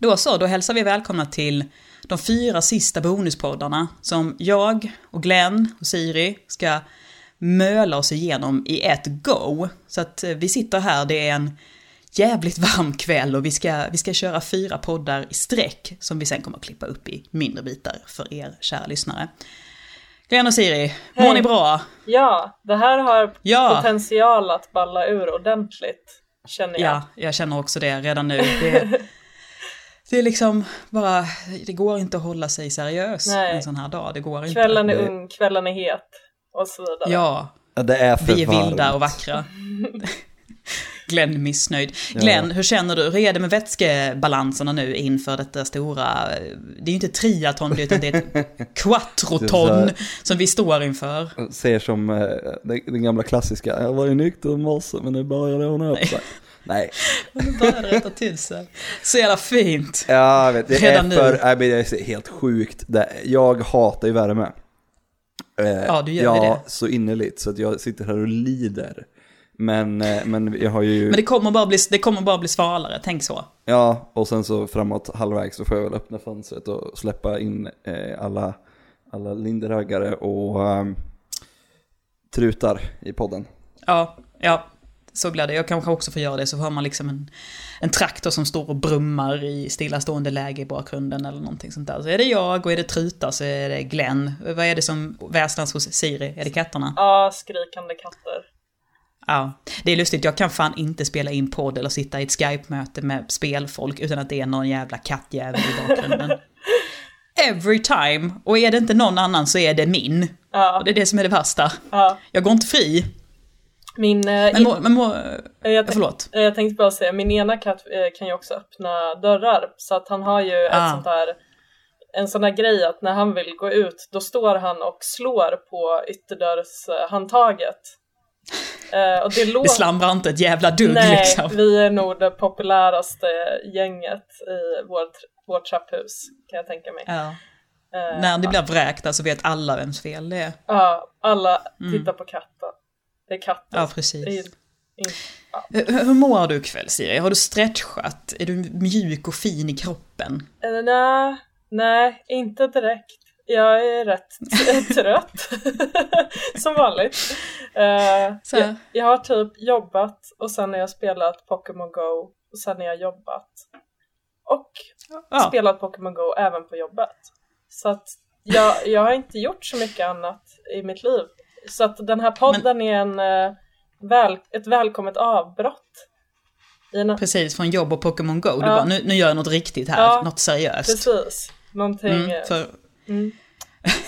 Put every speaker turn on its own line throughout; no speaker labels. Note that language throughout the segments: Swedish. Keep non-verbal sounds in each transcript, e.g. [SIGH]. Då så, då hälsar vi välkomna till de fyra sista bonuspoddarna som jag och Glenn och Siri ska möla oss igenom i ett go. Så att eh, vi sitter här, det är en jävligt [LAUGHS] varm kväll och vi ska, vi ska köra fyra poddar i sträck som vi sen kommer att klippa upp i mindre bitar för er kära lyssnare. Glenn och Siri, mår
Hej.
ni bra?
Ja, det här har
Ja.
potential att balla ur ordentligt, känner jag.
Ja, jag känner också det redan nu.
[LAUGHS]
Det, det är liksom bara, det går inte att hålla sig seriös
Nej.
en sån här dag. Det går inte.
Kvällen är
Det-
ung, kvällen är het och så vidare.
Ja,
Ja, det är för
vi är
varmt.
vilda och
[LAUGHS]
vackra. Glenn missnöjd. Glenn, hur känner du? Hur är det med vätskebalanserna nu inför detta stora, det är ju inte triathlon utan det är
[LAUGHS]
ett quattroton
Det
som vi står
[LAUGHS]
inför.
Ser som eh, den, den gamla klassiska, jag var ju nykter i morse men nu börjar det ordna upp sig. Nej,
Nu börjar det rätta till sig. Så jävla fint.
ja, jag vet, det
Redan
är
nu.
för, nej, men det är helt sjukt. Det, jag hatar ju värme. Eh,
Ja, du gör ju
ja, så innerligt så att jag sitter här och lider. Men, eh, men jag har ju,
Men det kommer bara bli, det kommer bara bli svalare, tänk så.
ja, och sen så framåt halvvägs så får jag väl öppna fönstret och släppa in eh, alla, alla linderögare och ehm, trutar i podden.
Ja, ja. Så blir det. Jag kanske också får göra det, så har man liksom en, en traktor som står och brummar i stillastående läge i bakgrunden eller någonting sånt där. Så är det jag och är det Truta så är det Glenn. Vad är det som väsnas hos Siri? Är det katterna?
Ja, skrikande katter.
Ja. Det är lustigt, jag kan fan inte spela in podd eller sitta i ett Skype-möte med spelfolk utan att det är någon jävla kattjävel i
[LAUGHS]
bakgrunden. Every time! Och är det inte någon annan så är det min.
Ja,
Och det är det som är det värsta.
ja.
Jag går inte fri.
Min, eh,
Men
in-
må, men må,
eh, jag, tänk-
förlåt.
eh, jag tänkte bara säga, min ena katt eh, kan ju också öppna dörrar, så att han har ju
Ah.
ett sånt där, en sån där grej att när han vill gå ut, då står han och slår på ytterdörrshandtaget. Eh, och det
Det
låter...
slamrar inte ett jävla [LAUGHS] dugg
Nej,
liksom.
vi är nog det populäraste gänget i vårt, vårt trapphus kan jag tänka mig.
Ja.
Eh,
När det blir vräkta så vet alla vems fel det är.
Ja, alla tittar på katten. Det är katten.
Mm. Ja,
Det är,
precis.
in-
Hur hur mår du ikväll Siri? Har du stretchat? Är du mjuk och fin i kroppen?
eh, nej, nej, inte direkt. Jag är rätt t- [LAUGHS] trött, som vanligt. Eh,
Så här.
jag, jag har typ jobbat och sen har jag spelat Pokémon Go och sen har jag jobbat. Och
Ja,
spelat Pokémon Go även på jobbet. Så att jag, jag har inte gjort så mycket annat i mitt liv. Så att den här podden är en, eh, väl, ett välkommet avbrott. I en,
precis. Från jobb och Pokémon Go. Du
Ja.
bara, nu, nu gör jag något riktigt här.
Ja.
Något seriöst.
precis, någonting.
Mm,
eh,
för,
mm.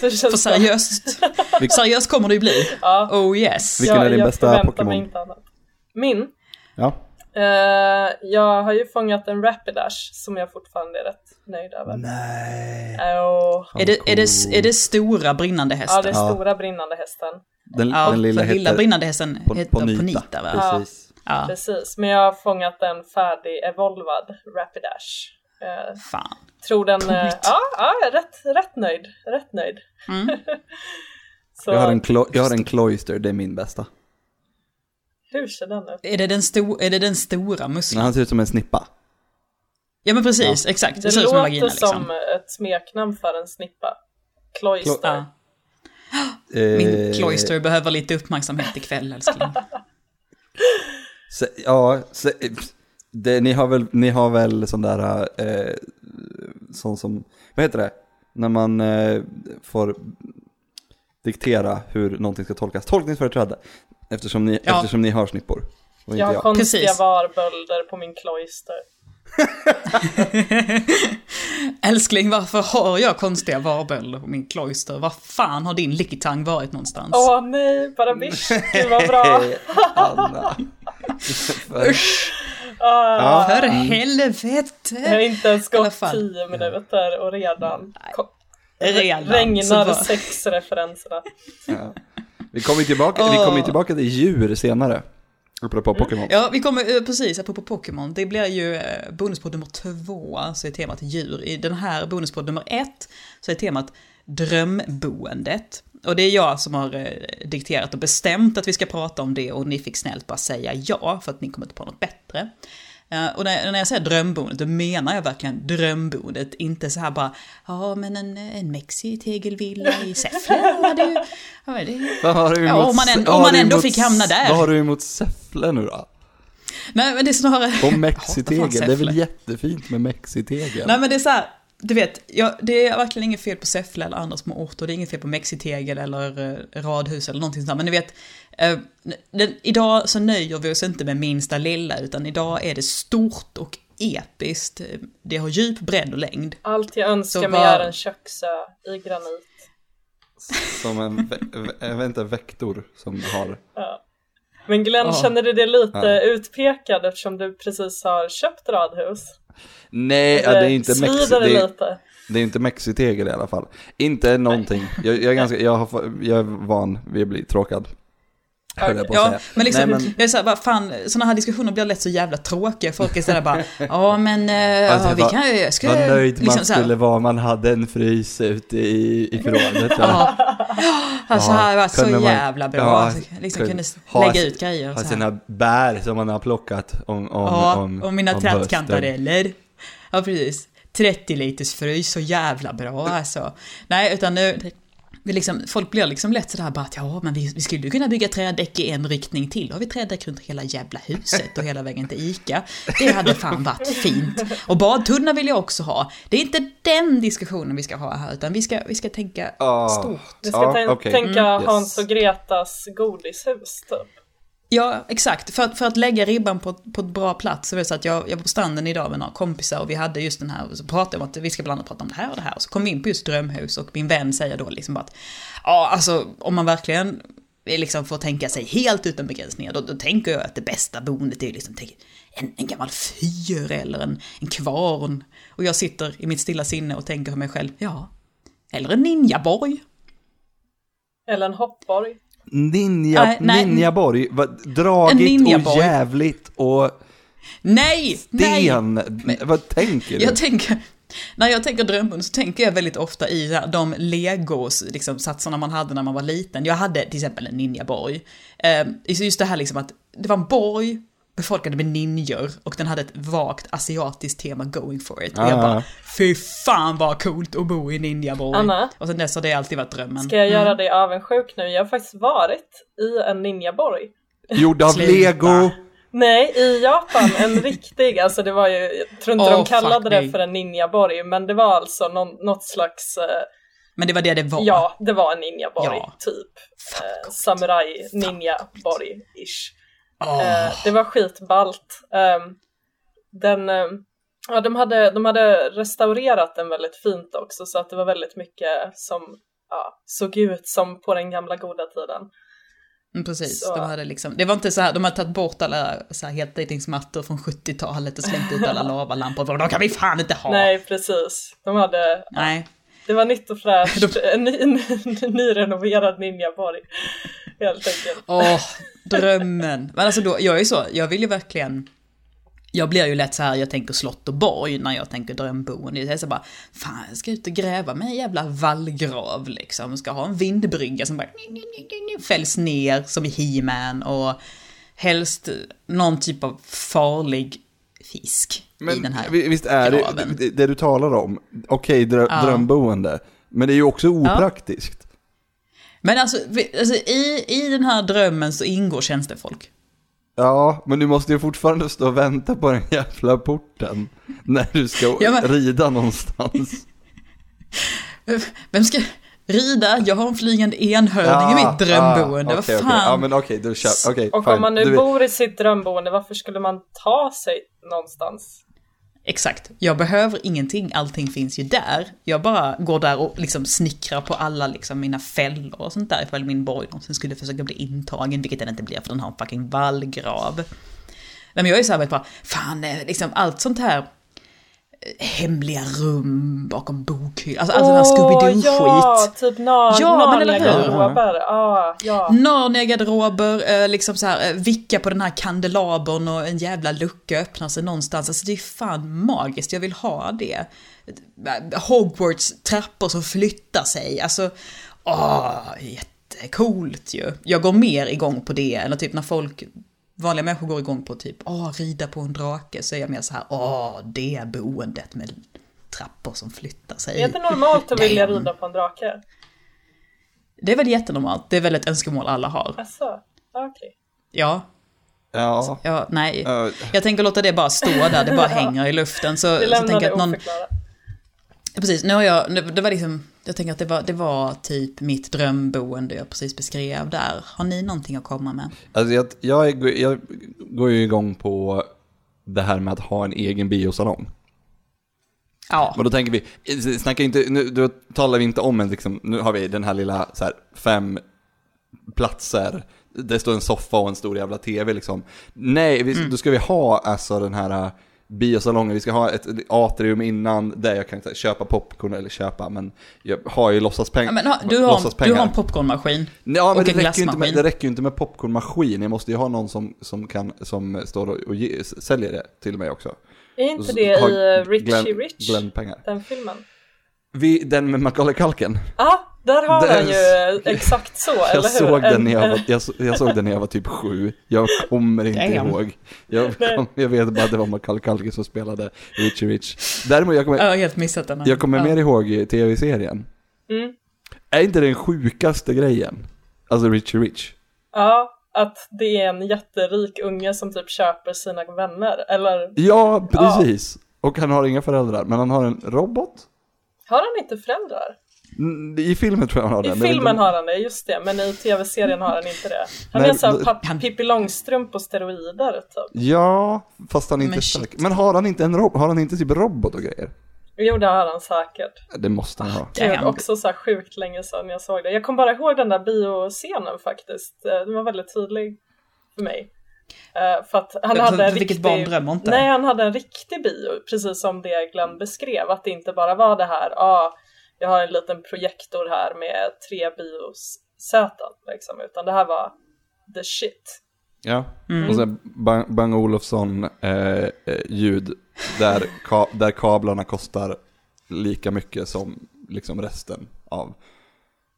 Så känns
för
det- [LAUGHS]
seriöst. seriöst kommer det ju bli.
Ja,
Oh yes.
Vilken
jag,
är din
jag
bästa
förväntar
Pokémon?
mig inte annat. Min?
Ja.
Eh, jag har ju fångat en Rapidash som jag fortfarande är rätt nöjd över.
Nej.
Och,
Är det, är, det, är det stora brinnande
ja, det är
hästen?
Ja.
stora brinnande hästen.
Den,
Ja,
den lilla
för lilla
heter
brinnande hästen
Pon-
heter
Ponita.
Ponita va?
Ja.
Precis.
Ja,
Precis, men jag har fångat en färdig evolvad Rapidash. Eh,
fan.
tror den... Eh,
Coolt.
ja, ja, jag är rätt, rätt nöjd. Rätt nöjd.
Mm.
[LAUGHS] Så
Jag, har en klo- jag har en Cloister, det är min bästa.
hur ser den ut?
Är det den, sto- är det den stora muskeln?
Men han ser ut som en snippa.
Ja men precis, exakt.
Det,
Det, ser ut som en
låter
vagina liksom.
som ett smeknamn för en snippa. Cloister.
Ja.
Eh,
Min cloister behöver lite uppmärksamhet ikväll
[LAUGHS]
älskling.
Se, ja, se, det, ni, har väl, ni har väl sån där, eh, sån som, vad heter det? När man eh, får diktera hur någonting ska tolkas. Tolkningsföreträde. Eftersom ni,
Ja.
eftersom ni har snippor. Och
Jag
inte
har
jag.
konstiga
Precis.
varbölder på min cloister.
älskling varför har jag konstiga varbölder på min cloister? Var fan har din likitang varit någonstans?
Åh nej, bara bish. Gud vad
[LAUGHS]
bra.
Hej,
[LAUGHS]
Anna.
Ah,
Ja.
För
Mm.
Jag har
helvete!
inte ens
alla
gått
fall.
tio minuter och redan ko-
Redan, så
regnar
bara-
sexreferenserna.
Ja. Vi kommer ju tillbaka, vi kommer ju tillbaka till djur senare. Apropå Pokémon.
Mm. Ja, vi kommer, eh, precis, apropå Pokémon, det blir ju eh, bonuspodd nummer två, så är temat djur. I den här bonuspodd nummer ett så är temat drömboendet. Och det är jag som har eh, dikterat och bestämt att vi ska prata om det och ni fick snällt bara säga ja för att ni kommer inte på något bättre. Eh, Och när när jag säger drömboendet, då menar jag verkligen drömboendet, inte så här bara ja men en, en mexitegelvilla i Säffle hade ju... Ja, men det-
Vad har du
Ja,
emot,
om man än- om
vad har
man
du
ändå
emot-
fick hamna där.
Vad har du emot Säffle nu då?
Nej men det är snarare...
Och
Ja,
mexitegel,
vad fan,
det är väl
Säffle.
jättefint med mexitegel?
Nej men det är så här, du vet, jag, det är verkligen inget fel på Säffle eller andra små orter, det är inget fel på mexitegel eller eh, radhus eller någonting sånt där. men ni vet, eh, den, idag så nöjer vi oss inte med minsta lilla, utan idag är det stort och episkt, det har djup, bredd och längd.
Allt jag önskar
Så
mig
vad-
är en köksö i granit.
Som en, vä- vä- vänta, vektor som har.
Men Glenn,
Ja.
känner du dig lite
Ja.
utpekad eftersom du precis har köpt radhus?
Nej, ja, det är inte
svider
mexi,
det
det är,
lite?
det är inte mexitegel i alla fall. Inte någonting. Jag, jag är ganska, jag, har, fa- jag är van vid att bli tråkad. Höll jag på att
Ja,
säga.
men liksom,
Nej, men-
jag är såhär, vad fan, sådana här diskussioner blir lätt så jävla tråkiga. Folk är sådär bara, [LAUGHS] ja men, eh,
Alltså,
ja, vi
vad-
kan ju, jag skulle...
Vad nöjd man
så här,
skulle vara om man hade en frys ute i, i förrådet. Ja.
Ja, alltså det
Ja,
hade varit så
kunde man-
jävla bra.
ja,
liksom
kunde-
kunde
ha-
lägga ut grejer och
Har
så här.
sina bär som man har plockat om, om,
Ja,
om,
och mina
om hösten.
trattkantareller. Ja, precis. 30 liters frys, så jävla bra alltså. Nej, utan nu... Det är liksom, folk blir liksom lätt sådär bara att ja, men vi, vi skulle ju kunna bygga trädäck i en riktning till. Då har vi trädäck runt hela jävla huset och hela vägen till ICA. Det hade fan varit fint. Och badtunna vill jag också ha. Det är inte den diskussionen vi ska ha här, utan vi ska, vi ska tänka
Ja.
stort.
Vi ska
Ja,
tän-
okej.
tänka
Mm, yes.
Hans och Gretas godishus typ.
Ja, exakt. För att, för att lägga ribban på, på ett bra plats. Så var det så att jag, jag var på stranden idag med några kompisar och vi hade just den här, och så pratade vi om att vi ska bland annat prata om det här och det här. Och så kom vi in på just drömhus och min vän säger då liksom bara att, ja alltså om man verkligen liksom får tänka sig helt utan begränsningar, då, då tänker jag att det bästa boendet är liksom tänk, en, en gammal fyr eller en, en kvarn. Och jag sitter i mitt stilla sinne och tänker för mig själv, ja, eller en ninjaborg.
Eller en hoppborg.
Ninja,
Nej, nej.
Ninjaborg, vad
En
dragigt
ninjaborg.
och jävligt och
Nej! Nej!
sten. Vad tänker du?
Jag tänker, när jag tänker drömmen så tänker jag väldigt ofta i så här, de legos, liksom, satserna man hade när man var liten. Jag hade till exempel en ninjaborg. Eh, så just det här liksom att det var en borg befolkade med ninjor och den hade ett vagt asiatiskt tema going for it. Och jag
Ah.
bara, fy fan vad coolt att bo i ninjaborg.
Anna?
Och sen dess har det alltid varit drömmen.
Ska
Mm.
jag göra dig avundsjuk nu? Jag har faktiskt varit i en ninjaborg.
Gjord av
Sluta.
lego.
Nej, i Japan,
[LAUGHS]
en riktig, alltså det var ju, jag tror inte
Åh,
de kallade
fuck
det
me.
för en ninjaborg, men det var alltså någon, något slags, eh,
Men det var det det var.
ja, det var en ninjaborg,
Ja.
typ.
Fan,
Eh, samurai, ninjaborg-ish.
Ah.
åh.
Eh, det var skitballt. Ehm, den, eh, ja, de, hade, de hade restaurerat den väldigt fint också så att det var väldigt mycket som ja, såg ut som på den gamla goda tiden.
Mm, Precis,
Så.
de hade liksom, det var inte så här, de hade tagit bort alla så här heltäckningsmattor från 70-talet och slängt ut alla lavalampor, för de kan vi fan inte ha!
Nej, precis. De hade,
Nej.
det var nytt och
[LAUGHS]
fräscht. En ny, ny, nyrenoverad ninjaborg, helt enkelt.
Åh, drömmen. Men alltså då, jag är ju så, jag vill ju verkligen... Jag blir ju lätt så här, jag tänker slott och borg när jag tänker drömboende. Jag är så bara, fan jag ska ut och gräva mig en jävla vallgrav liksom. Ska ha en vindbrygga som bara fälls ner som i He-Man och helst någon typ av farlig fisk i den här.
vi- visst är det,
graven.
det, det du talar om, okej drö,
Ja.
drömboende, men det är ju också opraktiskt.
Men alltså, vi- alltså i, i den här drömmen så ingår tjänstefolk.
Ja, men du måste ju fortfarande stå och vänta på den jävla porten när du ska
Ja, men- [LAUGHS]
rida någonstans.
Vem ska rida? Jag har en flygande enhörning i
Ah,
mitt drömboende.
ah,
Vad
okej,
fan?
okej. Ja, men okej, då kör okej,
Och
fine.
om man nu
Du vet-
bor i sitt drömboende, varför skulle man ta sig någonstans?
Exakt. Jag behöver ingenting, allting finns ju där. Jag bara går där och liksom snickrar på alla liksom mina fällor och sånt där ifall min borg någonsin skulle försöka bli intagen, vilket den inte blir för den har en fucking vallgrav. Nej men jag är så här vet bara, fan eh, liksom allt sånt här eh, hemliga rum bakom bokhyllan, alltså all sån här
ja,
Scooby-Doo-skit.
typ na-
Ja, men eller hur?
Narnia-garderober. Ja, ja.
Narnia-garderober, eh, liksom så här, eh, vicka på den här kandelabern och en jävla lucka öppnar sig någonstans. Alltså det är fan magiskt, jag vill ha det. Eh, Hogwarts trappor som flyttar sig, alltså åh, jättecoolt ju. Jag går mer igång på det, eller typ när folk vanliga människor går igång på typ åh, rida på en drake, så är jag mer så här åh, det boendet med trappor som flyttar sig.
Är det normalt att vilja rida på en drake?
Det är väl jättenormalt, det är väl ett önskemål alla har.
Jaså? Ja, Alltså, Okej.
Ja,
Ja. Eh,
ja nej.
Ja.
Jag tänker låta det bara stå där, det [LAUGHS] bara hänger i luften. Så,
Vi
så tänker
lämnar
jag
det
att någon,
oförklarat.
Precis, nu har jag, det det var liksom, jag tänker att det var, det var typ mitt drömboende jag precis beskrev där. Har ni någonting att komma med?
Alltså jag, jag, är- jag går ju igång på det här med att ha en egen biosalong.
Ja,
Men då tänker vi, snacka inte, nu då talar vi inte om en liksom, nu har vi den här lilla så här, fem platser, det står en soffa och en stor jävla tv liksom. Nej, vi,
Mm.
då ska vi ha alltså den här äh, biosalongen, vi ska ha ett atrium innan där jag kan så här, köpa popcorn eller köpa, men jag har ju låtsaspengar.
ja men ha- du har, du har en popcornmaskin.
Ja, men
och
det
en
räcker, ju inte med,
glassmaskin.
det räcker ju inte med popcornmaskin, jag måste ju ha någon som, som, kan, som står och, och ge, säljer det till mig också.
Är
Och
inte
så
det
har
äh,
i eh, Richie
Glenn-
Rich?
Glenn pengar.
Den filmen?
Vi, den med Macaulay Culkin.
Ja, där har
Det-
den ju
[LAUGHS]
eh, exakt så, eller hur?
Jag såg,
En-
den när jag,
en-
var, jag, så- jag såg den när jag var typ sju. Jag kommer inte
Damn.
ihåg. Jag, kom, jag vet bara att det var Macaulay Culkin som spelade Richie Rich. Däremot, jag
Ja, jag
kommer,
har helt missat den. här.
jag kommer
ja.
mer ihåg tv-serien.
Mm.
Är inte det den sjukaste grejen? Alltså Richie Rich.
Ja, att det är en jätterik unge som typ köper sina vänner. Eller
Ja, precis. Och han har inga föräldrar, men han har en robot.
har han inte föräldrar?
Mm, I filmen tror jag han har det.
I
men jag vet inte
filmen
om-
har han det, just det. Men i tv-serien har han inte det. Han
Nej,
är såhär
då-
papp- Pippi Långstrump på steroider typ.
Ja, fast han är inte
Men
men
shit.
stark. Men har han inte en robot? Har han inte typ robot och grejer?
Jo, det har han säkert.
Det måste han ha.
Det
Damn.
var också så här sjukt länge sedan jag såg det. Jag kom bara ihåg den där bioscenen faktiskt. Eh, Den var väldigt tydlig för mig. Eh, För att han
Ja,
hade en
för vilket
riktig...
barn drömmer inte?
Nej, han hade en riktig bio, precis som det Glenn beskrev. Att det inte bara var det här, ja, ah, jag har en liten projektor här med tre biosäten, liksom. Utan det här var the shit.
Ja,
Mm.
och sen Bang, Bang Olofsson eh, eh, ljud där, ka, där kablarna kostar lika mycket som liksom resten av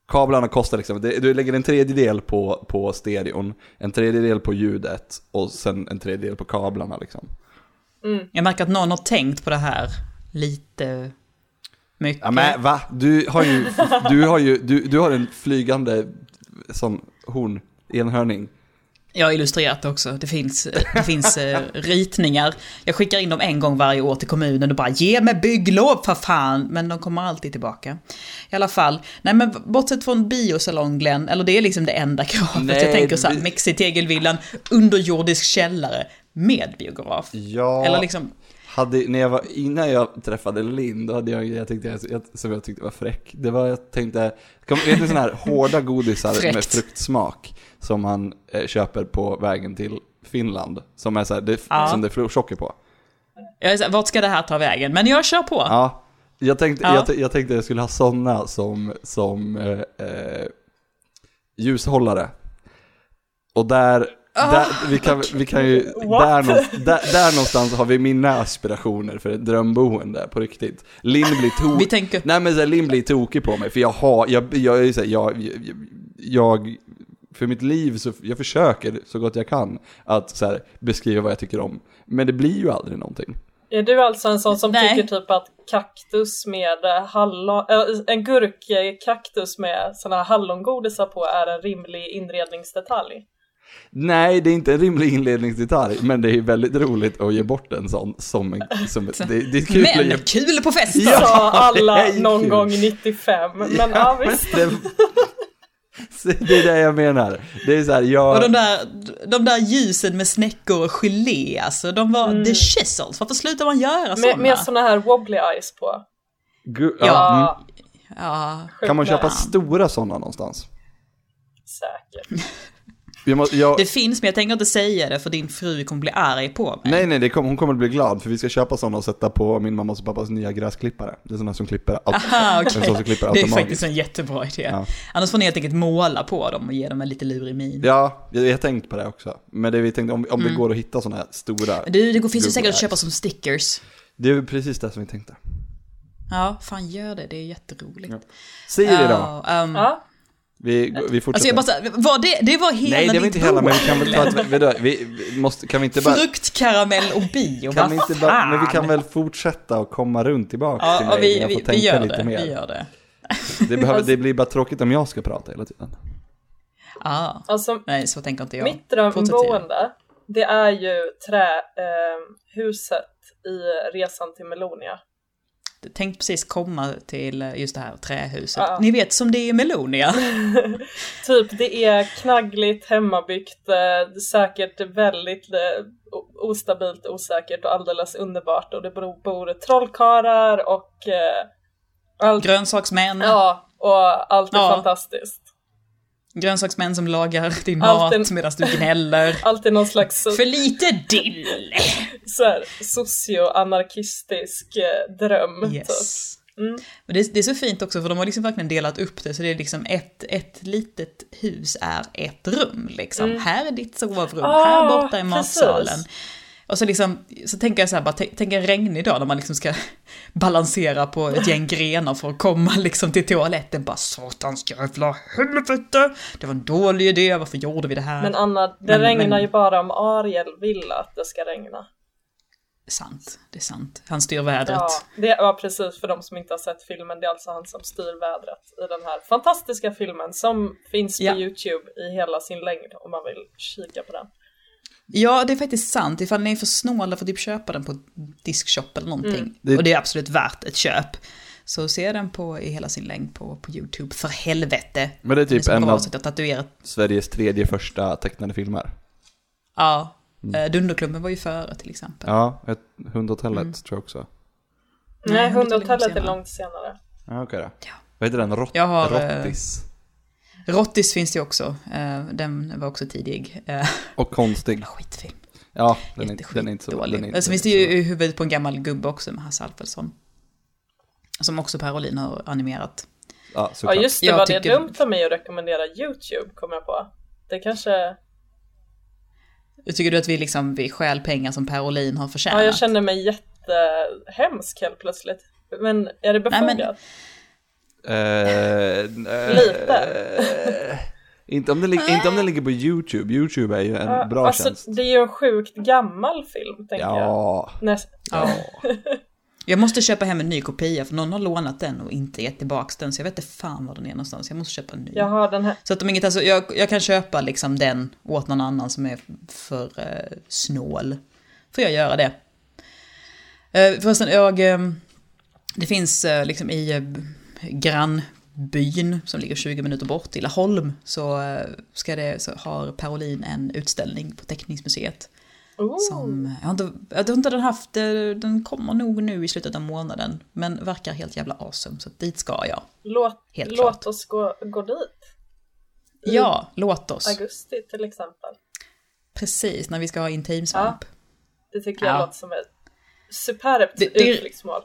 Kablarna kostar liksom, det- du lägger en tredjedel på, på stereon, en tredjedel på ljudet och sen en tredjedel på kablarna liksom.
Jag märker att någon har tänkt på det här lite mycket.
Ja men va? Du har ju, du har ju, du, du har en flygande sån horn, enhörning.
Jag har illustrerat det också. Det finns, det finns eh, ritningar. Jag skickar in dem en gång varje år till kommunen och bara ge mig bygglov för fan. Men de kommer alltid tillbaka. I alla fall. Nej men bortsett från biosalong Glenn, eller det är liksom det enda kravet.
Nej,
jag tänker så här,
vi-
mexitegelvillan, underjordisk källare med biograf.
Ja.
Eller liksom,
Hade, när jag var, innan jag träffade Linn, då hade jag en grej jag tyckte, jag, som jag tyckte var fräck. Det var, jag tänkte, kom, vet ni sådana här hårda godisar med
[LAUGHS] Fräckt.
fruktsmak som man eh, köper på vägen till Finland? Som är så här, det,
Ja.
som det är florsocker på.
jag är så här, vart ska det här ta vägen? Men jag kör på.
Ja, jag tänkte,
Ja.
Jag, t- jag tänkte jag skulle ha sådana som, som eh, eh, ljushållare. Och där,
Ah.
där, vi kan, vi kan ju, där,
What?
någonstans, där, där någonstans har vi mina aspirationer för ett drömboende på riktigt. Linn blir,
Vi
to-
tänker,
Nej, men så här, Linn blir tokig på mig för jag har, jag, jag är ju så här, jag, jag, jag, för mitt liv så, jag försöker så gott jag kan att så här, beskriva vad jag tycker om. Men det blir ju aldrig någonting.
Är du alltså en sån som
Nej.
tycker typ att kaktus med eh, hallon, äh, en gurkkaktus med såna här hallongodisar på är en rimlig inredningsdetalj?
Nej, det är inte en rimlig inledningsdetalj, men det är väldigt roligt att ge bort en sån som en... Som, det, det är kul att ge...
men kul på festen!
Ja,
Sa
det
alla
är ju
någon
kul.
gång 95, men ja, visst.
men det, Så det är det jag menar. Det är så här,
Och de
jag...
där, de där ljusen med snäckor och gelé, alltså de var the chisels. Varför slutar man göra sådana?
Med, med såna här wobbly eyes på.
Gu, ja,
Ja.
mm.
Ja,
sjukt
Kan man köpa
nära.
stora sådana någonstans?
Säkert.
Jag må, jag,
det finns men jag tänker inte säga det för din fru kommer bli arg på mig.
nej, nej, det kom, hon kommer att bli glad för vi ska köpa sådana och sätta på min mammas och pappas nya gräsklippare. Det är sådana som klipper, aut-
Aha,
en
Ah, okej.
sån som klipper
Det är
automatiskt.
faktiskt en jättebra idé.
Ja.
Annars får ni helt enkelt måla på dem och ge dem en lite lurig min.
Ja, jag jag har tänkt på det också. Men det vi tänkte, om, om det går att hitta sådana här stora...
Du, Mm. det går- finns ju
Google
säkert att
Eyes.
köpa som stickers.
Det är väl precis det som vi tänkte.
Ja, fan gör det, det är jätteroligt.
Siri då?
Ja, ehm,
Ja,
Vi, vi fortsätter.
Alltså jag bara så här, var det, det var hela
Nej, det var
mitt
inte hela, men vi kan väl
boende.
ta ett, vi, då- vi, vi måste, kan vi inte bara,
Fruktkaramell och bio,
kan
vad
vi inte bara, men
fan?
vi kan väl fortsätta och komma runt tillbaka till
Ja,
mig
och vi,
när jag får
vi,
tänka
vi gör
lite
det,
mer.
vi gör det.
Det, behöver, det blir bara tråkigt om jag ska prata hela tiden.
Ah,
Alltså
nej, så tänker inte jag.
mitt
Fortsätt, Ida.
drömboende, det är ju trähuset i Resan till Melonia.
Tänk precis komma till eh, just det här trähuset.
Ja.
Ni vet som det är i Melonia. [LAUGHS]
Typ det är knaggligt, hemmabyggt, eh, säkert väldigt eh, o- ostabilt, osäkert och alldeles underbart och det bor, bor trollkarlar och eh, allt,
Grönsaksmän,
ja, och allt är
Ja.
fantastiskt.
grönsaksmän som lagar din
Allt
mat
en-
medan du gnäller.
Allt är någon slags so-
För lite dill!
så här, socio-anarkistisk eh, dröm. Typ.
Yes.
Mm.
Men det, det är så fint också för de har liksom verkligen delat upp det så det är liksom ett, ett litet hus är ett rum liksom. Här är ditt sovrum,
Mm. Ah,
här borta är
precis.
matsalen. Och så, liksom, så tänker jag så här, bara, tänk, tänk en regnig dag när man liksom ska [LAUGHS] balansera på ett gäng grenar för att komma liksom till toaletten. Bara satans jävla helvete! Det var en dålig idé, varför gjorde vi det här?
Men Anna, det
Men-
regnar
men-
ju bara om Ariel vill att det ska regna.
sant, det är sant. Han styr vädret.
Ja, det, ja, precis. För de som inte har sett filmen, det är alltså han som styr vädret i den här fantastiska filmen som finns på
Ja.
YouTube i hela sin längd om man vill kika på den.
Ja, det är faktiskt sant. Ifall ni är för snåla för att typ köpa den på diskshop eller någonting.
Mm.
Det-
Och det är absolut värt ett köp. Så se den på, i hela sin längd på, på YouTube, för helvete.
Men det är
Ni
typ
som
en
kommer
av
avsnitt att tatuera.
Sveriges tredje första tecknade filmer.
Ja, mm. Dunderklumpen var ju före till exempel.
Ja, ett, Hundhotellet
Mm.
tror jag också.
Nej,
Nej,
Hundhotellet
Hundhotellet är
senare.
långt senare.
Ja, okej då.
Ja.
Vad heter den? Rott,
Jag har, eh,
Rottis.
Rottis finns det ju också. Eh, Den var också tidig. Eh, [LAUGHS]
Och konstig.
Skitfilm.
Ja, den är,
Jätteskit
den är inte så
dålig.
Den är
Men
inte
så Alltså, finns det
så-
ju i huvudet på en gammal gubbe också med Hasse Alfredsson. Som också Per Olin har animerat.
Ja,
Ja
såklart.
just det,
Jag
var det
tycker-
dumt av mig att rekommendera YouTube kom jag på. Det kanske...
Jag tycker du att vi liksom, vi stjäl pengar som Per Olin har förtjänat?
Ja, jag känner mig jättehemsk helt plötsligt. Men är det
Nej, men-
befogat?
Eh, eh,
Lite.
inte, om den, lig- inte om den ligger på YouTube. YouTube är ju en
Ja,
bra
alltså,
tjänst.
Det är ju en sjukt gammal film, tänker jag.
Ja,
Näst,
Ja. [LAUGHS] Jag måste köpa hem en ny kopia för någon har lånat den och inte gett tillbaka den så jag vet inte fan var den är någonstans. Jag måste köpa en ny.
jag har den här.
Så att om inget, alltså, jag, jag kan köpa liksom den åt någon annan som är för eh, snål. Får jag göra det. Eh, förresten, jag... Eh, det finns eh, liksom i eh, grannbyn som ligger 20 minuter bort, i Laholm, så, eh, ska det, så har Parolin en utställning på Teckningsmuseet.
Oh.
Som, eh, jag, har inte, jag tror inte den haft, den kommer nog nu i slutet av månaden. Men verkar helt jävla awesome, så dit ska jag.
Låt,
Helt klart.
låt oss gå, gå dit. I
Ja, låt oss.
Augusti till exempel.
Precis, när vi ska ha intimsvamp.
Det tycker jag
Ja.
låter som ett superbt
Det- det-
utflyktsmål.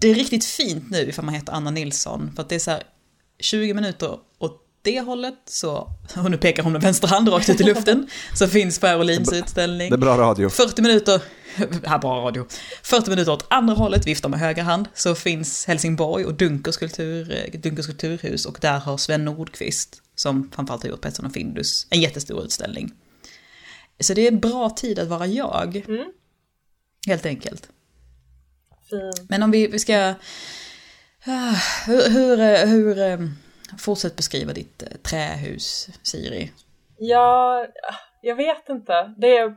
Det är riktigt fint nu ifall man heter Anna Nilsson, för att det är så här 20 minuter åt det hållet, så, och nu pekar hon med vänster hand rakt ut i luften, så finns Per Olins utställning.
det är bra radio.
40 minuter, [LAUGHS] här bra radio, 40 minuter åt andra hållet, viftar med höger hand, så finns Helsingborg och Dunkers, kultur, Dunkers kulturhus och där har Sven Nordqvist, som framförallt har gjort Pettersson och Findus, en jättestor utställning. Så det är en bra tid att vara jag,
Mm.
helt enkelt.
Fin.
Men om vi, vi ska... Ah, Hur, hur, eh, hur eh, Fortsätt beskriva ditt eh, trähus, Siri.
Ja, jag vet inte. Det är...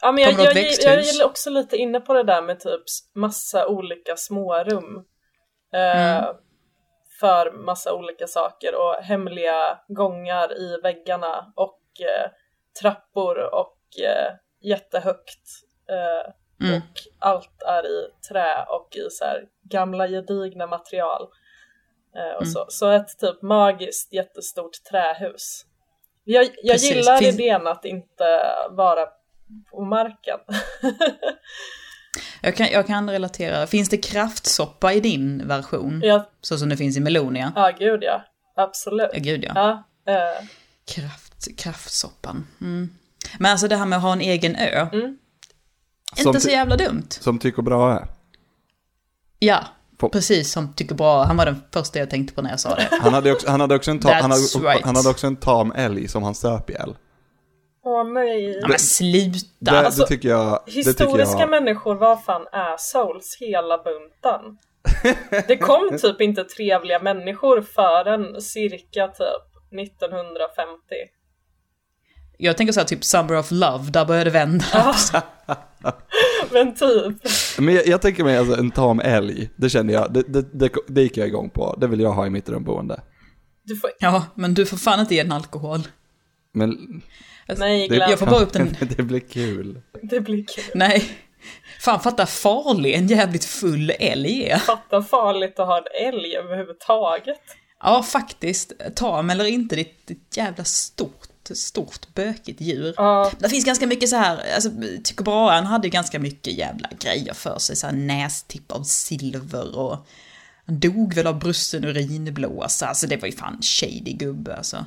Ja, men jag,
Kommer det
jag,
ett
jag, jag
växthus?
är också lite inne på det där med typ s- massa olika smårum. Eh,
Mm.
För massa olika saker och hemliga gångar i väggarna och eh, trappor och eh, jättehögt. Eh,
Mm.
Och allt är i trä och i så här gamla gedigna material. Eh, och
Mm.
så. så ett typ magiskt jättestort trähus. Jag, jag
Precis.
gillar
Finns-
idén att inte vara på marken. [LAUGHS]
Jag kan, jag kan relatera. Finns det kraftsoppa i din version?
ja,
Så som det finns i Melonia.
ja, gud ja. Absolut.
Ja, gud ja.
Ja, eh,
Kraft, kraftsoppan. Mm. Men alltså det här med att ha en egen ö.
Mm.
Inte
Som
så
ty-
jävla dumt.
Som Tycho Brahe.
Ja,
Pop.
Precis som tycker bra, han var den första jag tänkte på när jag
[LAUGHS]
sa det.
Han hade också, han hade också, en, tam, han hade,
That's right.
han hade också en tam älg som han söp ihjäl.
Åh nej.
Ja, men sluta!
Det,
Alltså,
det tycker jag... Det tycker
Historiska
jag
människor var fan assholes hela bunten. Det
[LAUGHS]
kom typ inte trevliga människor förrän cirka typ 1950.
Jag tänker så här typ Summer of Love, där började det vända.
Men typ.
men jag, jag tänker mig alltså en tam älg, det kände jag, det, det, det, det gick jag igång på, det vill jag ha i mitt drömboende.
Du får...
Ja, men du får fan inte ge den alkohol.
Men
Nej
Det-
Glenn,
Jag får bara upp den.
[LAUGHS] det blir kul.
det blir kul.
Nej. Fan fatta farlig en jävligt full älg är.
Fatta farligt att ha en älg överhuvudtaget.
Ja, faktiskt. Tam eller inte, det är ett- ett jävla stort, stort bökigt djur.
Ja,
Det finns ganska mycket så här, alltså tycker bara han hade ju ganska mycket jävla grejer för sig, så här nästipp av silver och han dog väl av brusten urinblåsa, alltså det var ju fan shady gubbe alltså.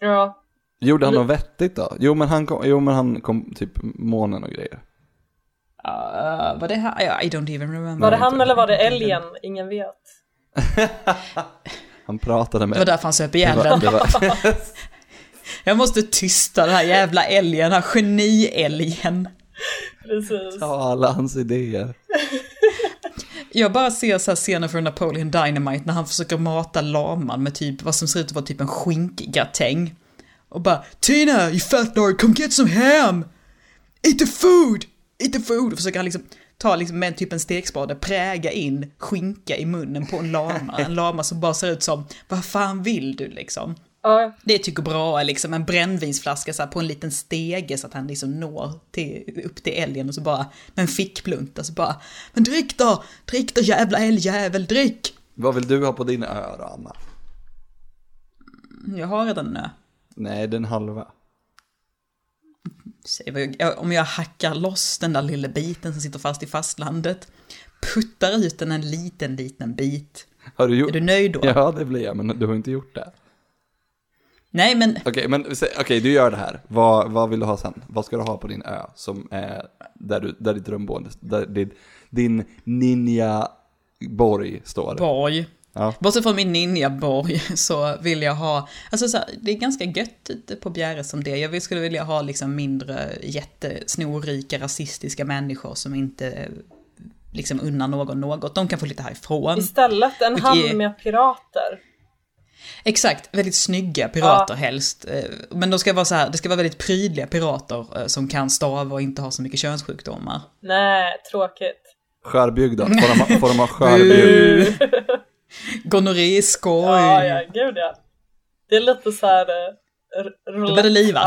ja.
Gjorde han något vettigt då? Jo men han kom, jo, men han kom typ månen och grejer.
Uh, var det han? Ja, I don't even remember.
Var det
Nej,
han
inte.
eller var det älgen? Ingen vet.
Han pratade
Det var
med...
därför han söp ihjäl den.
[LAUGHS] det var,
Jag måste tysta den här jävla älgen, den här geniälgen.
Precis.
ja, alla hans idéer.
Jag bara ser så här scener från Napoleon Dynamite när han försöker mata laman med typ vad som ser ut att vara typ en skinkgratäng. Och bara Tina, you fat nerd, come get some ham! Eat the food! Eat the food! Och försöker han liksom ta liksom med typ en stekspade, präga in skinka i munnen på en lama. En lama som bara ser ut som, vad fan vill du liksom?
Mm.
Ja,
Det tycker bra är liksom en brännvinsflaska så här, på en liten stege så att han liksom når till, upp till älgen och så bara med en fickplunta så bara Men drick då! Drick då jävla älgjävel, drick!
Vad vill du ha på din ö då, Anna?
Jag har redan en ö.
Nej, den halva.
Säg vad jag- Om jag hackar loss den där lilla biten som sitter fast i fastlandet, puttar ut den en liten, liten bit.
Har du gjort?
Är du nöjd då?
[LAUGHS] Ja, det blir jag, men du har inte gjort det.
Nej men,
Okej, men sä- okej, du gör det här. Vad, vad vill du ha sen? Vad ska du ha på din ö som är där, du, där ditt drömboende, där din, din ninja-borg står?
Borg.
Ja.
Bortsett från min ninjaborg [LAUGHS] så vill jag ha, alltså så här, det är ganska gött ute på Bjäre som det. Jag vill- skulle vilja ha liksom mindre jättesnorrika rasistiska människor som inte liksom unnar någon något. De kan få lite härifrån.
istället en
Och ge-
hamn med pirater.
Exakt, väldigt snygga pirater helst. Eh, Men de ska vara så här, det ska vara väldigt prydliga pirater eh, som kan stava och inte ha så mycket könssjukdomar.
Nej, tråkigt.
Skörbjugg då? Får de, ha- får de ha skörbjugg?
[LAUGHS] Gonorré är skoj.
Ja, ja, gud ja. Det är lite så här... eh, r-
Då blir det livat.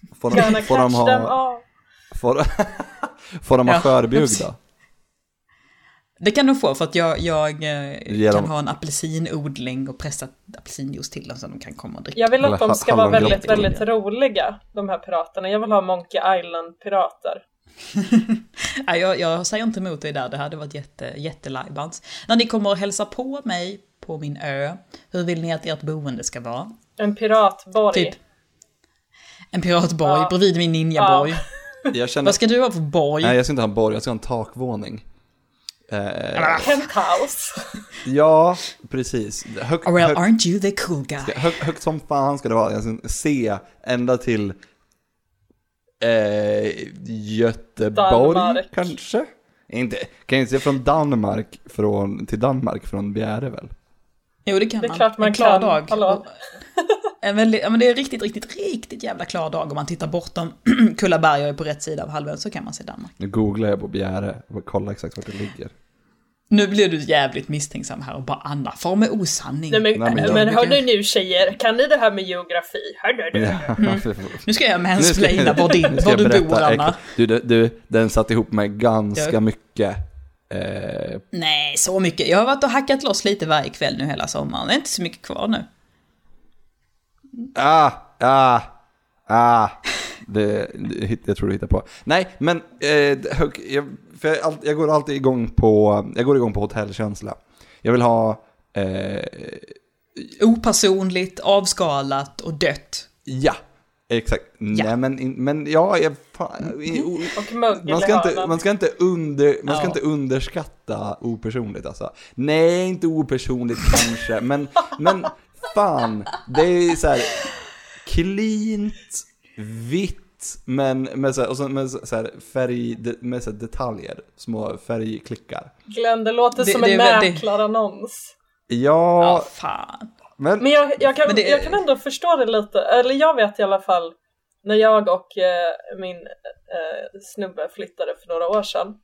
Ja.
Får
Gonna
de, får de
catch them
ha,
all.
får, får [LAUGHS] de ha
Ja,
skörbjugg
precis.
då?
Det kan de få för att jag, jag eh,
Ge
kan
dem-
ha en apelsinodling och pressa apelsinjuice till dem så de kan komma och dricka.
Jag vill att de
Eller
ska vara
hallongrottor.
väldigt, väldigt roliga, de här piraterna. Jag vill ha Monkey Island-pirater.
Nej, jag, jag säger inte emot dig där, det hade varit jätte, jättelajbans. När ni kommer och hälsa på mig på min ö, hur vill ni att ert boende ska vara?
En piratborg.
Typ en piratborg
Ja.
bredvid min ninjaborg.
Jag känner,
Vad ska du ha för borg?
nej jag ska inte ha en borg, jag ska ha en takvåning. Eh,
Penthouse.
ja, precis. Hög,
Or well,
hög,
aren't you the cool guy?
hög, högt som fan ska det vara, jag ska se ända till eh, Göteborg
Danmark.
kanske? Inte, kan jag inte se från Danmark från, till Danmark från Bjäre väl?
Jo, det kan
Det är
man.
klart man
en klar
kan.
dag.
Hallå.
Och- En väldigt, ja, men det är en riktigt, riktigt, riktigt jävla klar dag om man tittar bortom [CLEARS THROAT] Kullaberg och är på rätt sida av halvön så kan man se Danmark.
Nu googlar jag på Bjäre och kollar exakt vart det ligger.
Nu blir du jävligt misstänksam här och bara Anna far med osanning.
Nej, men,
Nej, men
men,
jag-
hörni nu tjejer, kan ni det här med geografi? Hörni nu.
Nu ska Mm. jag
Nu ska-
mansplaina
[LAUGHS]
var, din,
nu ska
var
jag
du
berätta
bor Anna.
äck- Du, du, du, den satt ihop med ganska
Ja.
mycket. Eh,
Nej, så mycket. Jag har varit och hackat loss lite varje kväll nu hela sommaren. Det är inte så mycket kvar nu.
ah, ah, ah. Det, det, hitt- jag tror du hittar på. Nej, men eh, hög, jag, för jag, all- jag går alltid igång på, jag går igång på hotellkänsla. Jag vill ha, eh,
Opersonligt, avskalat och dött.
ja, Exakt.
Ja.
Nej men, in- men ja, jag, fan, i- o-
Och mögel
man
i
ska, inte,
hörnan.
man, ska inte under, man ska
Ja.
inte underskatta opersonligt alltså. Nej, inte opersonligt kanske, men, men fan. Det är så här cleant, vitt, men med så här, och så, med så här färg, de- med så här detaljer, små färgklickar.
Glenn, det låter
Det-
som
det
en
är väldigt-
mäklarannons.
Ja,
Ja, fan.
men,
Men jag, jag, kan,
Men det-
jag kan ändå förstå det lite, eller jag vet i alla fall när jag och eh, min eh, snubbe flyttade för några år sedan.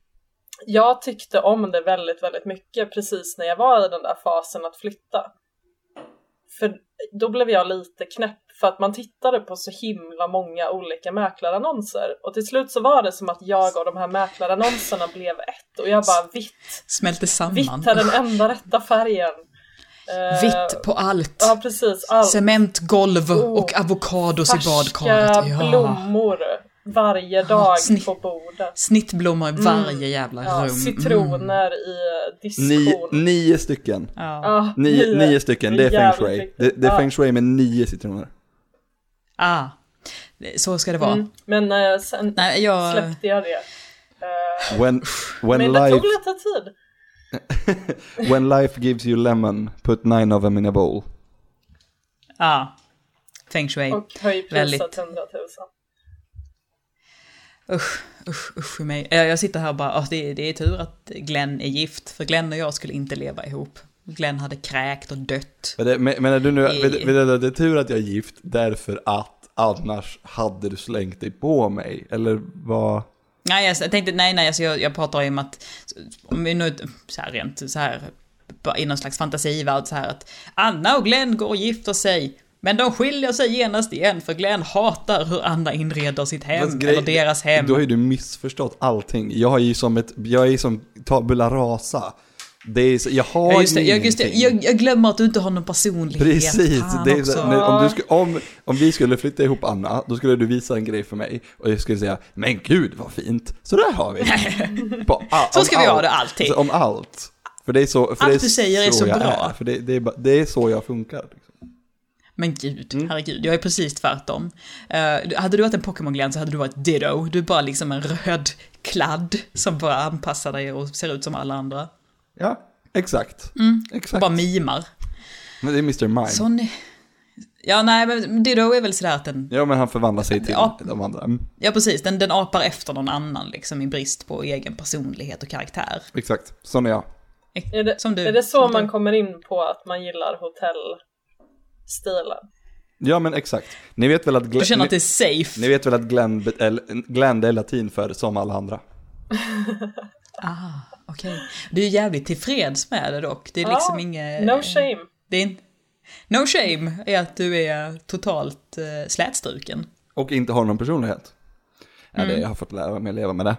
Jag tyckte om det väldigt, väldigt mycket precis när jag var i den där fasen att flytta. För då blev jag lite knäpp för att man tittade på så himla många olika mäklarannonser och till slut så var det som att jag och de här mäklarannonserna blev ett och jag bara vitt,
Smälter samman.
vitt är den enda rätta färgen. Eh,
Vitt på allt.
Ja precis, allt.
Cementgolv och
Oh,
avokados i
Färska
badkaret. Ja.
blommor varje dag
snitt.
på bordet.
Snittblommor i varje jävla
Ja,
rum. Mm.
citroner i diskon.
nio, nio stycken.
Ja.
Ja,
Nio, nio stycken, det är feng
jävligt
shui.
riktigt.
Det, det är
Ja.
feng shui med nio citroner.
Ah. Så ska det vara.
Mm. Men eh, sen
Nej, jag...
släppte jag det. Eh,
When, when
men det
life...
tog lite tid.
When life gives you lemon, put nine of them in a bowl.
Ja. Feng shui.
Och höj
Väldigt.
priset 100 000.
Usch, usch, usch i mig. Eh, Jag sitter här och bara, "Ah, det, det är tur att Glenn är gift, för Glenn och jag skulle inte leva ihop. Glenn hade kräkt och dött.
Men det- men- Menar du nu,
Nej.
men- men det det är tur att jag är gift därför att annars hade du slängt dig på mig? Eller vad?
Nej, jag s- jag tänkte, nej, nej, alltså jag, jag pratar ju om att, om vi nu, så här rent, så här, bara i någon slags fantasivärld så här att Anna och Glenn går och gifter sig, men de skiljer sig genast igen för Glenn hatar hur Anna inreder sitt hem,
Fast grej-
eller deras hem.
Då har ju du missförstått allting. Jag är ju som ett, jag är som tabula rasa. Det är så, jag har
Ja, just det,
ju
jag, just det,
ingenting.
jag, jag glömmer att du inte har någon personlighet.
Precis,
Fan
det är
också.
så, nu, om, du sku, om, om vi skulle flytta ihop Anna, då skulle du visa en grej för mig och jag skulle säga Men gud vad fint, så där har vi
[LAUGHS]
På a-
Så
om
ska vi ha
allt.
det alltid.
Så Om allt För det är så, för
Allt
det är
du säger är så
jag
bra.
är. För det, det, är, bara- det är så jag funkar liksom.
Men gud, herregud, jag är precis tvärtom. Eh, hade du varit en Pokémon-glän så hade du varit Ditto. Du är bara liksom en röd kladd som bara anpassar dig och ser ut som alla andra.
Ja, exakt Exakt,
Mm. Bara mimar.
men det är Mr. Mime
Sån... Ja, nej, men Ditto är väl sådär att den...
Ja men han förvandlar sig till
Ja.
de andra Mm,
Ja, precis, den, den apar efter någon annan liksom i brist på egen personlighet och karaktär.
Exakt, sån är jag
Är det,
Som du.
är det så
Som du.
man kommer in på att man gillar hotellstilen?
Ja men exakt, ni vet väl att Glenn,
Du känner att det är
ni,
safe.
ni vet väl att Glenn, eller, Glenn det är latin för som alla andra
Ah, okej. Du är jävligt tillfreds med det dock. Det är liksom
Ja,
inget...
No shame.
Det är in... No shame är att du är totalt eh, slätstruken.
Och inte har någon personlighet. Ja,
Mm.
det, jag har fått lära mig att leva med det.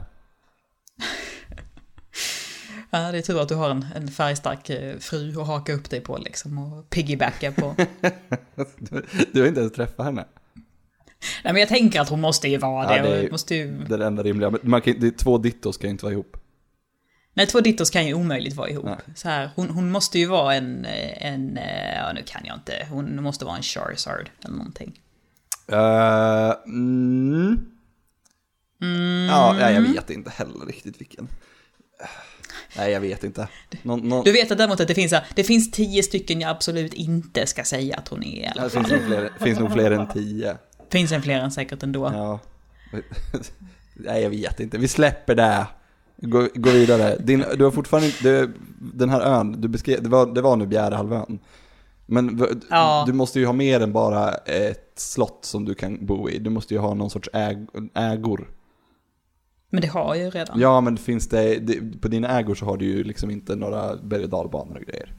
[LAUGHS]
Ja, det är tur att du har en, en färgstark eh, fru att haka upp dig på liksom och piggybacka
[LAUGHS]
på.
Du, du har inte ens träffat henne.
Nej, men jag tänker att hon måste ju vara det.
Ja, det är
och
ju-
Måste ju...
Det är det enda rimliga. Men Man kan, ju- det är två dittos ska ju inte vara ihop.
Nej, två dittos kan ju omöjligt vara ihop.
Nej.
Så här, hon, hon måste ju vara en, eh, en, eh, ja nu kan jag inte, hon måste vara en Charizard eller någonting.
Eh, mm.
Mm.
Ja, nej, jag vet inte heller riktigt vilken. Eh, Nej, jag vet inte. Någon, någon,
Du vet att däremot att det finns, så här- det finns tio stycken jag absolut inte ska säga att hon är.
det finns, nog fler, finns nog fler än tio.
Finns en fler än säkert ändå.
Ja. [LAUGHS] Nej, jag vet inte. Vi släpper det. Gå, gå vidare. Din, du har fortfarande inte, du, den här ön, du beskrev, det var, det var nu Bjärehalvön. Men v,
Ja.
du måste ju ha mer än bara ett slott som du kan bo i. Du måste ju ha någon sorts äg, ägor.
Men det har jag ju redan.
Ja, men finns det, det, på dina ägor så har du ju liksom inte några berg och dalbanor och grejer.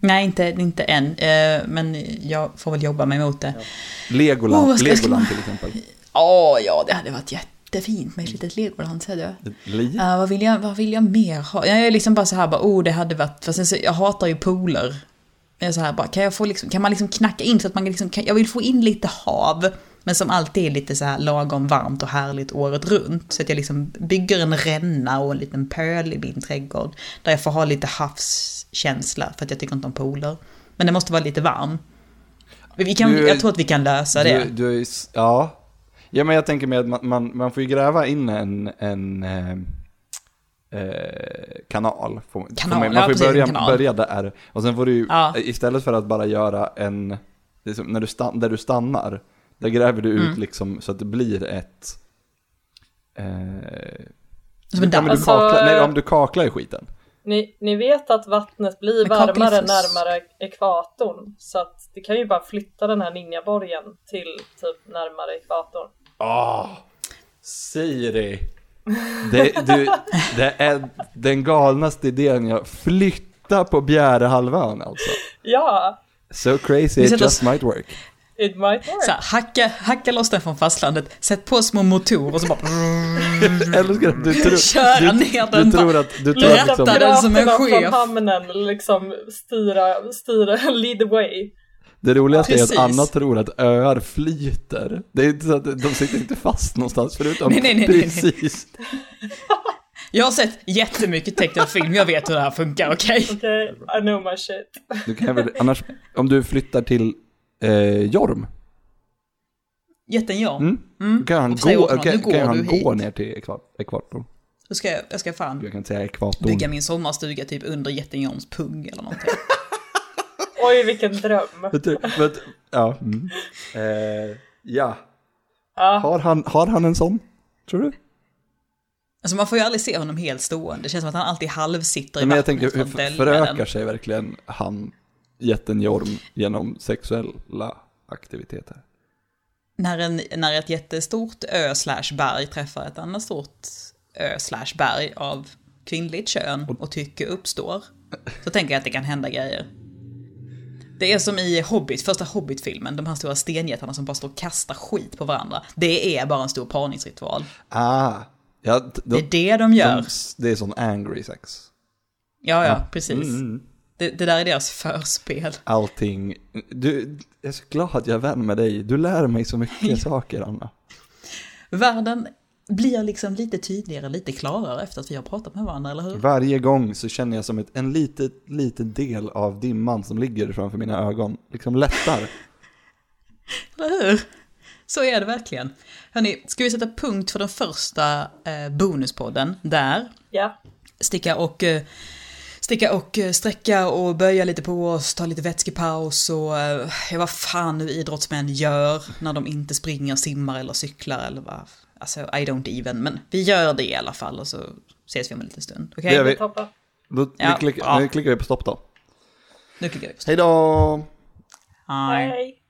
Nej, inte, inte än. eh, Men jag får väl jobba mig mot det.
Legoland,
Oh, vad ska jag
Legoland till exempel.
Åh ja, det hade varit jättefint
Mm.
med ett litet Legoland, säger du.
Li?
Uh, vad, vill jag, vad vill jag mer ha? Jag är liksom bara så här, bara, oh det hade varit, fast sen så, jag hatar ju pooler. Jag är så här, bara, kan, jag få liksom, kan man liksom knacka in så att man liksom kan, jag vill få in lite hav, men som alltid är lite så här lagom varmt och härligt året runt. Så att jag liksom bygger en ränna och en liten pöl i min trädgård, där jag får ha lite havskänsla, för att jag tycker inte om pooler. Men det måste vara lite varm. Vi kan,
Du-
jag tror att vi kan lösa det.
Du, du, är ju s- ja. ja, men jag tänker med att man, man, man får ju gräva in en, en eh, eh, kanal. Får, får
Kanal, ja,
man, man får ju
precis, en
börja,
kanal.
börja där. Och sen får du ju, eh,
Ja.
istället för att bara göra en, liksom, när du stan, där du stannar, där gräver du ut
Mm.
liksom så att det blir ett... Eh,
Som en
ja,
damm.
men du
Alltså-
kaklar, nej, om du kaklar i skiten.
Ni, ni vet att vattnet blir
Men kaklifusk.
varmare närmare ekvatorn så att det kan ju bara flytta den här ninjaborgen till typ närmare ekvatorn.
Ah, Siri. Det, du, det är den galnaste idén jag flytta på Bjärehalvön alltså.
Ja,
So crazy
Vi
it
sätter
just
oss-
might work.
it might work.
Så här, hacka, hacka loss den från fastlandet, sätt på små motorer och så bara
Älskar att du tror,
Mm. Köra
du,
ner
du
den
tror
bara.
att, du tror
Lätta
att liksom,
på den som en
Piraterna
chef.
från hamnen liksom styra, styra, [LAUGHS] lead the way.
det roligaste är
Precis.
att Anna tror att öar flyter. Det är inte så att de sitter inte fast någonstans förutom
Nej, nej, nej, nej, nej.
precis.
Jag har sett jättemycket tecknad film, jag vet hur det här funkar, okej?
Okej, I know my shit.
Du kan väl, annars, om du flyttar till eh, Jorm,
Jätten ja.
Mm. då kan han
Och säger
gå,
åt honom,
kan,
"Nu går
kan han
du hit."
gå ner till ekva- ekvatorn.
Då ska jag, jag ska fan
Jag kan säga ekvatorn.
bygga min sommarstuga typ under jätten Jorms pung eller någonting.
Oj, vilken dröm.
Vet du, vet, ja. Mm. Eh, ja.
Ja,
Har, han, har han en sån? Tror du?
Alltså man får ju aldrig se honom helt stående, det känns som att han alltid halvsitter i
Men jag
vattnet
tänker,
för
hur
att
f-
dölja den.
förökar sig verkligen han, jätten Jorm, genom sexuella aktiviteter?
när, en, när ett jättestort ö slash berg träffar ett annat stort ö slash berg av kvinnligt kön och tycke uppstår, så tänker jag att det kan hända grejer. Det är som i Hobbit, första Hobbit-filmen, de här stora stenjättarna som bara står och kastar skit på varandra. Det är bara en stor parningsritual.
Ah, ja, d-
Det är
de,
det de gör.
de, det är sån angry sex.
ja, ja,
Ja.
precis.
Mm.
Det, det där är deras förspel.
Allting. Du, jag är så glad att jag är vän med dig. Du lär mig
[LAUGHS]
så mycket saker, Anna.
Världen blir liksom lite tydligare, lite klarare efter att vi har pratat med varandra, eller hur?
Varje gång så känner jag som ett, en liten, liten del av dimman som ligger framför mina ögon liksom lättar.
Eller hur? Så är det verkligen. Hörni, ska vi sätta punkt för den första eh, bonuspodden där?
ja.
Sticka och, eh, sticka och eh, sträcka och böja lite på oss, ta lite vätskepaus och eh, ja, vad fan nu idrottsmän gör när de inte springer, simmar eller cyklar eller vad. Alltså, I don't even, men vi gör det i alla fall och så ses vi om en liten stund. Okej?
Det gör vi.
Toppa.
Då
Ja,
klick,
ja.
nu klickar vi på stopp då.
Nu klickar vi på stopp.
Hej då!
Hej.
Hej.